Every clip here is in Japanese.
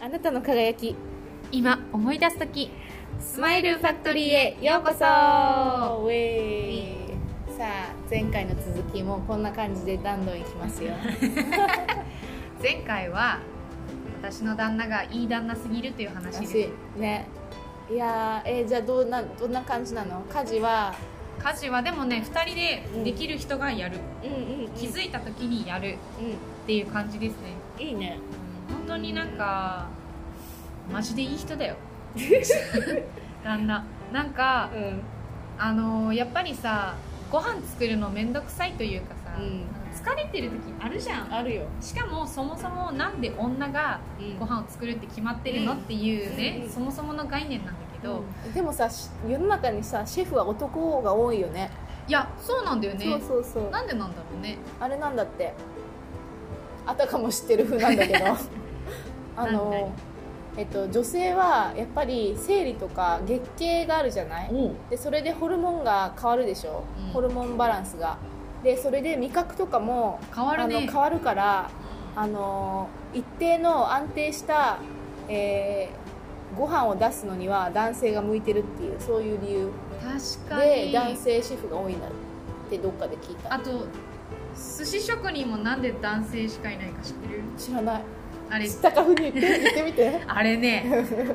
あなたの輝き今思い出す時スマイルファクトリーへようこそウェイさあ前回の続きもこんな感じでどんどんいきます よ前回は私の旦那がいい旦那すぎるという話です私ねいやーえーじゃあどんなどんな感じなの家事は家事はでもね2人でできる人がやる、うんうん、うん、気づいた時にやるっていう感じですね、うんいいねうん本当になんかマジでいい人だ よ旦那なんかうんあのーやっぱりさご飯作るのめんどくさいというかさ、うん疲れてる時あるじゃんあるよしかもそもそもなんで女がうんご飯を作るって決まってるの、うんっていうね、うんそもそもの概念なんだけど、うんでもさし世の中にさシェフは男が多いよねいやそうなんだよねそうそうそうなんでなんだろうねあれなんだってあたかも知ってる風なんだけど あ何何の、えっと、女性はやっぱり生理とか月経があるじゃないおでそれでホルモンが変わるでしょ、うんホルモンバランスがでそれで味覚とかも変わるあのね変わるからあの一定の安定した、えーご飯を出すのには男性が向いてるっていうそういう理由確かでに男性シェフが多いんだってどっかで聞いたあと寿司職人もなんで男性しかいないか知ってる知らないあれ知ったかふに言って言ってみてあれね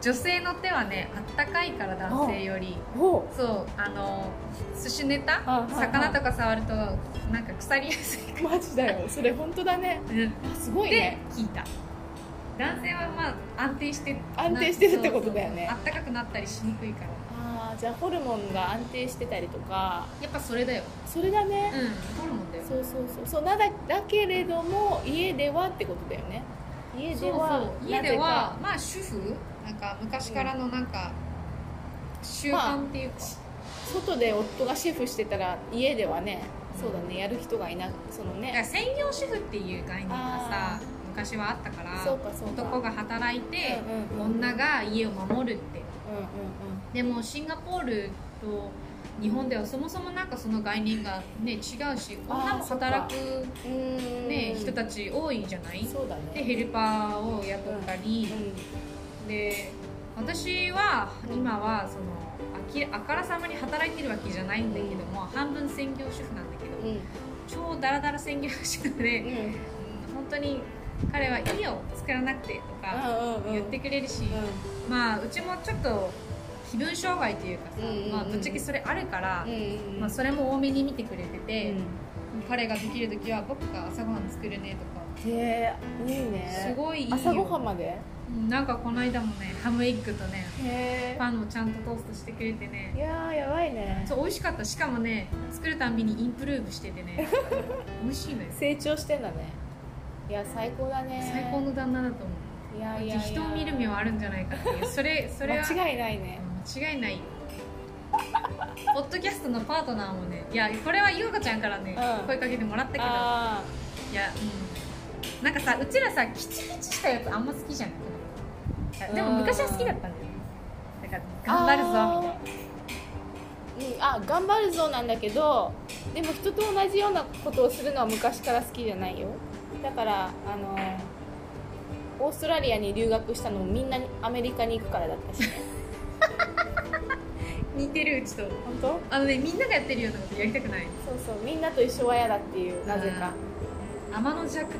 女性の手はねあったかいから男性より おうそうあの寿司ネタあはいはい魚とか触るとなんか腐りやすいマジだよそれ本当だねあすごいでね聞いた男性はまあ安定して安定してるってことだよねそうそうそうあったかくなったりしにくいからあーじゃあホルモンが安定してたりとかやっぱそれだよそれだうんね、ホルモンだよそうそうそうそうなだだけれども家ではってことだよね家そでうはそう家ではまあ主婦なんか昔からのなんか習慣っていうか、外で夫がシェフしてたら家ではねそうだねやる人がいなそのだからね専業主婦っていう概念がさあ昔はあったからそうかそうか男が働いて、うんうんうん女が家を守るってうんうんうんでもシンガポールと日本ではそもそもなんかその概念がね違うしあー女もそっか働くうーんね、人たち多いじゃないそうだでねヘルパーを雇ったり、で私は今はそのあきあからさまに働いてるわけじゃないんだけども、半分専業主婦なんだけど、うんうん超ダラダラ専業主婦で、うんうん本当に彼は家を作らなくてとかあうんうん言ってくれるし、うまあうちもちょっと気分障害というかさ、うんうんうんまあ、ぶっちゃけそれあるから、んうんうんまあ、それも多めに見てくれてうて、ん彼ができる時は僕が朝ごはん作るねとか。へえいいねすごいいいよ朝ごはんまでへうんなんかこの間もねハムエッグとねえパンをちゃんとトーストしてくれてねいやーやばいねそう美味しかったしかもね作るたんびにインプルーブして てね美味しいのよ成長してんだねいや最高だね最高の旦那だと思ういやいやいや人を見る目はあるんじゃないかっていうそれそれは間違いないね間違いないポッドキャストのパートナーもねいやこれは優子ちゃんからね、うん声かけてもらったけどあいや、うん、なんかさうちらさキチキチしたやつあんま好きじゃないでも昔は好きだったんだよねだから頑張るぞみたいなみたいなあ頑張るぞなんだけどでも人と同じようなことをするのは昔から好きじゃないよだからあのオーストラリアに留学したのもみんなアメリカに行くからだった し似てるうちと本当あのねみんながやってるようなことやりたくないそうそうみんなと一緒は嫌だっていうなぜか天の弱っていうや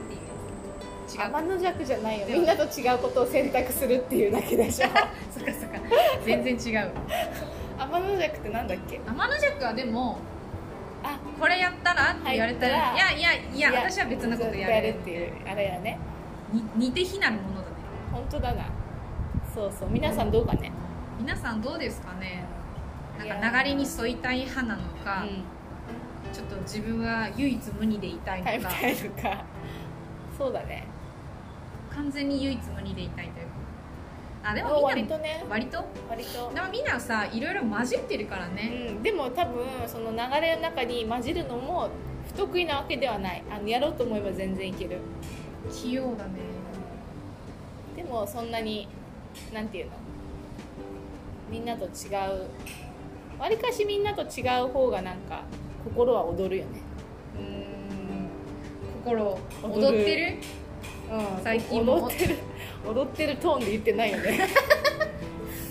つ違う天の弱じゃないよでもみんなと違うことを選択するっていうだけでしょそっかそっか全然違う 天の弱ってなんだっけ天の弱はでもあこれやったらって言われたら、はいい、やいやいや私は別のことやるやるっていうあれやねに似て非なるものだね本当だなそうそう皆さんどうかね皆さんどうですかねなんか流れに沿いたい派なのうか、んちょっと自分は唯一無二でいたいのか、タイプタイプかそうだね完全に唯一無二でいたいというかあでもみんな割とね割と割とでもみんなさいろいろ混じってるからね、うんでも多分その流れの中に混じるのも不得意なわけではないあのやろうと思えば全然いける器用だねでもそんなになんていうのみんなと違うわりかしみんなと違う方がなんか心は躍るよねうーん心踊る踊ってるうん最近も踊ってる踊ってるトーンで言ってないよね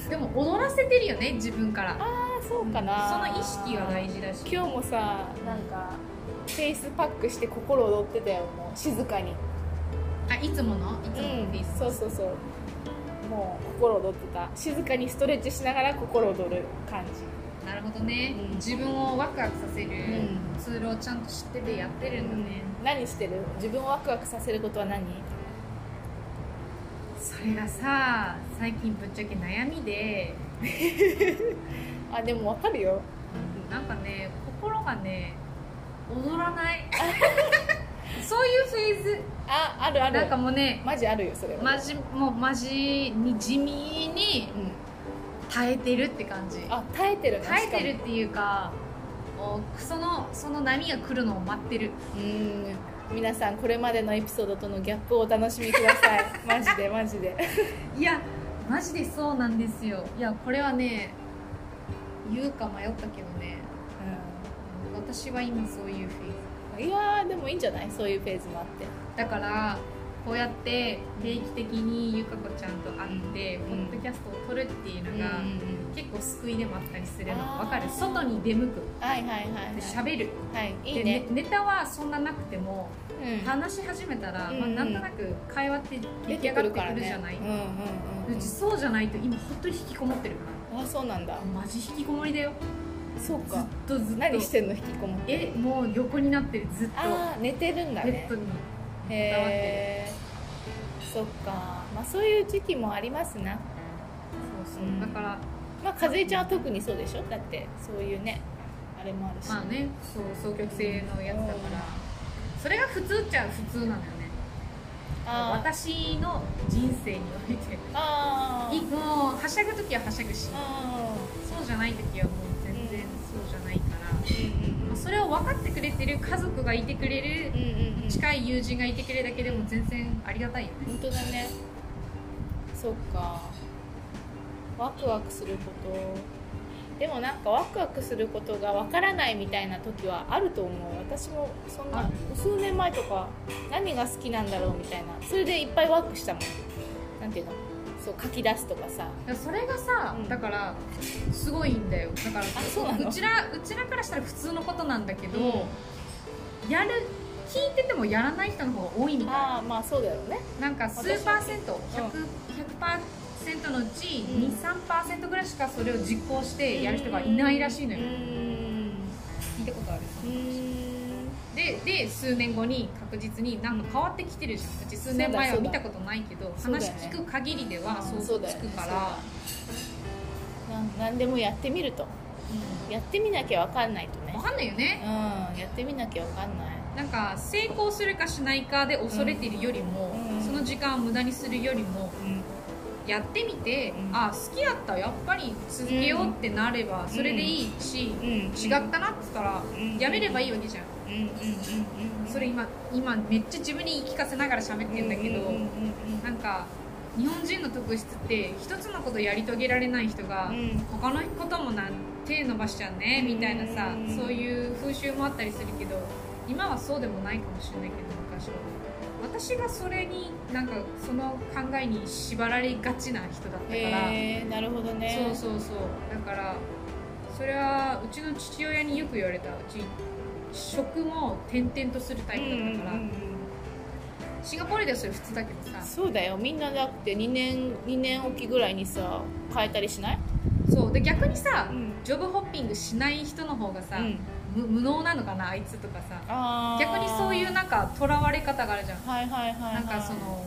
でも踊らせてるよね自分か らあそうかなその意識は大事だし今日もさなんかフェイスパックして心踊ってたよもう静かにあいつものいつものフェイスそうそうそうもう心踊ってた静かにストレッチしながら心踊る感じなるほどね、うん自分をワクワクさせるんツールをちゃんと知っててやってるんだね、何してる自分をワクワクさせることは何それがさ最近ぶっちゃけ悩みであでもわかるよなんかね心がね踊らない そういうフェーズああるあるなんかもうねマジあるよそれはまじもうマジに地味にうん、耐えてるって感じあ耐えてる耐えてるっていうかおそのその波が来るのを待ってるうーん皆さんこれまでのエピソードとのギャップをお楽しみくだ さいマジでマジでいやマジでそうなんですよいやこれはね言うか迷ったけどね私は今そういうフェーズいやーでもいいんじゃないそういうフェーズもあってだからこうやって定期的にゆかこちゃんと会って、うんポッドキャストを撮るっていうのが、結構救いでもあったりするのあーわかる外に出向くはいはいはいで喋るはい、はい、いいでねネネタはそんななくてもうん話し始めたら、うんまあ、なんとなく会話って出来上がってくるじゃない、うんうんううんちそうじゃないと今本当に引きこもってるうんあそうなんだマジ引きこもりだよそうずっかとずっと何してんの引きこもってえもう横になってるずっとああ寝てるんだベッねドにえへえそっかまあそういう時期もありますなそうそう、うんだからまあ和江ちゃんは特にそうでしょだってそういうねあれもあるし、まあねそう双極性のやつだから、それが普通っちゃ普通なのよねあー私の人生においてあーいもうはしゃぐ時ははしゃぐしあそうじゃない時はもう全然そうじゃないから、ーまあそれを分かってくれてる家族がいてくれるうんうんうんうんうん近い友人がいてくれるだけでも全然ありがたいよね本当だねそっかワクワクすることでもなんかワクワクすることがわからないみたいな時はあると思う私もそんあなる数年前とか何が好きなんだろうみたいなそれでいっぱいワークしたもんなんていうのそう書き出すとかさだからそれがさ、うんだからすごいんだよだからそうなのちらうちらからしたら普通のことなんだけど、うやる聞いててもやらない人の方が多いみたいなああまあそうだよねなんか数パーセント 100%, 100%のうちうん23%ぐらいしかそれを実行してやる人がいないらしいのようーん聞いたことあるうーんでで数年後に確実になんか変わってきてるじゃんうち数年前はそうだ見そうだたことないけどそうだ話よね聞く限りでは想そ像うだつよくねからそうだなん何でもやってみるとやってみなきゃわかんないとね分かんないよねうんやってみなきゃわかんないなんか成功するかしないかで恐れてるよりもうんその時間を無駄にするよりもうんやってみてうんあ好きやったやっぱり続けようってなればそれでいいしうん違ったなっつったらうんやめればいいわけじゃんうんうんうんうんそれ今今めっちゃ自分に言い聞かせながら喋ってんだけうど、んうんうんなんか日本人の特質って一つのことやり遂げられない人が、うんうん他のこともなん手伸ばしちゃうねみたいなさ、うんそういう風習もあったりするけど今はそうでもないかもしれないけど昔は私がそれになんかその考えに縛られがちな人だったから、へえなるほどねそうそうそうだからそれはうちの父親によく言われたうち食も転々とするタイプだったから、うんうんシンガポールではそれ普通だけどうんさそうだよみんなだって2年2年おきぐらいにさ変えたりしないそうで逆にさ、んジョブホッピングしない人の方がさ、うんむ無能なのかなあいつとかさあー逆にそういうなんかとらわれ方があるじゃん、はいはいはいはいなんかその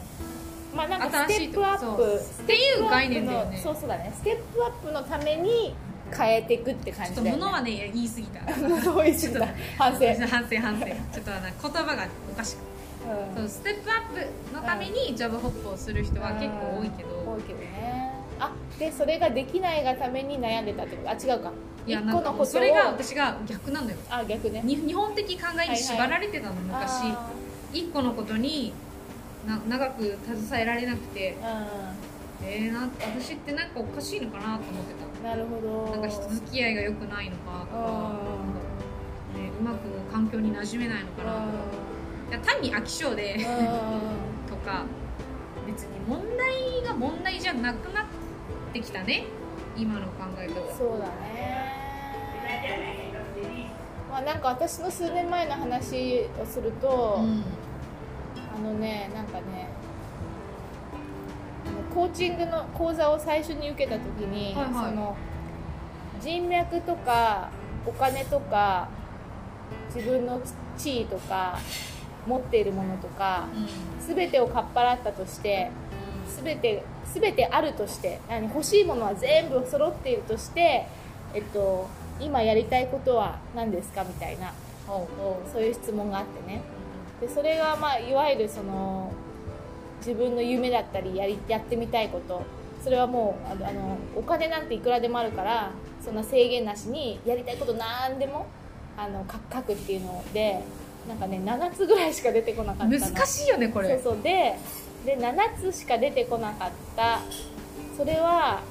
まあなんかス新テしいッとプアかッそプうっていう概念だよねそうそうだねステップアップのために変えていくってち感ょっじとだよね 物はねいや言い過ぎた物美味しいんだ反省、うん、反省反省ちょっとあの言葉がおかしくそうステップアップのためにジョブホップをする人は結構多いけど、多いけどねあでそれができないがために悩んでたってことあ違うかいや一な個んかのもこうとそをれが私が逆なのよあ逆ねに日本的考えに縛られてたの昔、あ一個のことにな長く携えられなくてーえー、な私ってなんかおかしいのかなと思ってうんなるほどたなんか人付き合いが良くないのかとかうんね、うまく環境に馴染めないのかなとかいや単に飽き性でうんとか別に問題が問題じゃなくなってきたね今の考え方そうだねまあなんか私の数年前の話をすると、うんあのねなんかねあのコーチングの講座を最初に受けた時に、はいはいその人脈とかお金とか自分の地位とか持っているものとかうん全てをかっぱらったとして全て全てあるとしてあの欲しいものは全部揃っているとして、えっと、今やりたいことは何ですかみたいなそういう質問があってねでそれが、まあ、いわゆるその自分の夢だったりやりやってみたいことそれはもうあのあのお金なんていくらでもあるからそんな制限なしにやりたいこと何でもあのか書くっていうのでなんかね7つぐらいしか出てこなかったの難しいよねこれそうそうでで7つしか出てこなかったそれは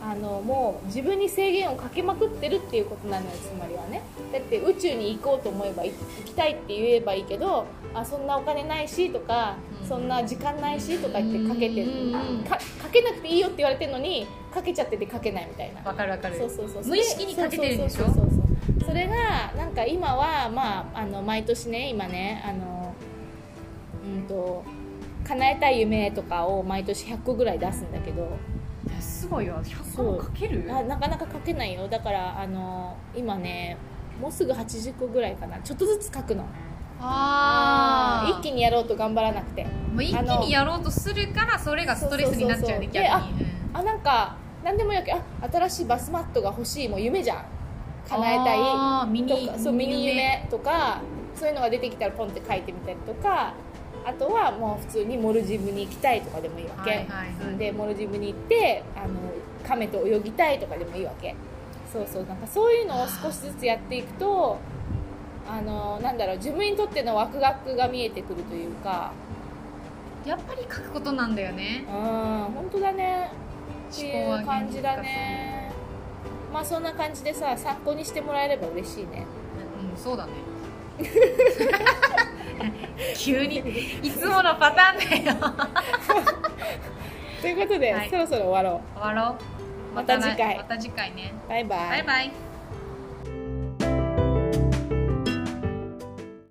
あのもう自分に制限をかけまくってるっていうことなのよつまりはねだって宇宙に行こうと思えばい行きたいって言えばいいけどあそんなお金ないしとか、うんそんな時間ないしとか言ってかけてうんかかけなくていいよって言われてるのにかけちゃっててかけないみたいなわかるわかるそうそうそう無意識にかけてるんでしょそうそうそうそうそれがなんか今は、まあ、あの毎年ね今ねあのうんと叶えたい夢とかを毎年100個ぐらい出すんだけどいやすごいよ100個もかけるななかなか書けないよだからあの今ねもうすぐ80個ぐらいかなちょっとずつ書くのあ一一気にやろうと頑張らなくて気もう一気にやろうとするからそれがストレスになっちゃそうそうそうねうそう逆であにうんあなんか何でもいいわけあ新しいバスマットが欲しいもう夢じゃん叶えたいあーミとかニそうミニ夢とかそういうのが出てきたらポンって書いてみたりとかあとはもう普通にモルジブに行きたいとかでもいいわけ、はいはいはいでモルジブに行ってあの亀と泳ぎたいとかでもいいわけそうそうなんかそういうのを少しずつやっていくとあのなんだろう自分にとってのワクワクが見えてくるというかやっぱり書くことなんだよねうん本当だねって思考はいう感じだねまあそんな感じでさ参考にしてもらえれば嬉しいねうんそうだね急にいつものパターンだよということで、はいそろそろ終わろう終わろうまたな次回また次回ねバイバイ。バイバイ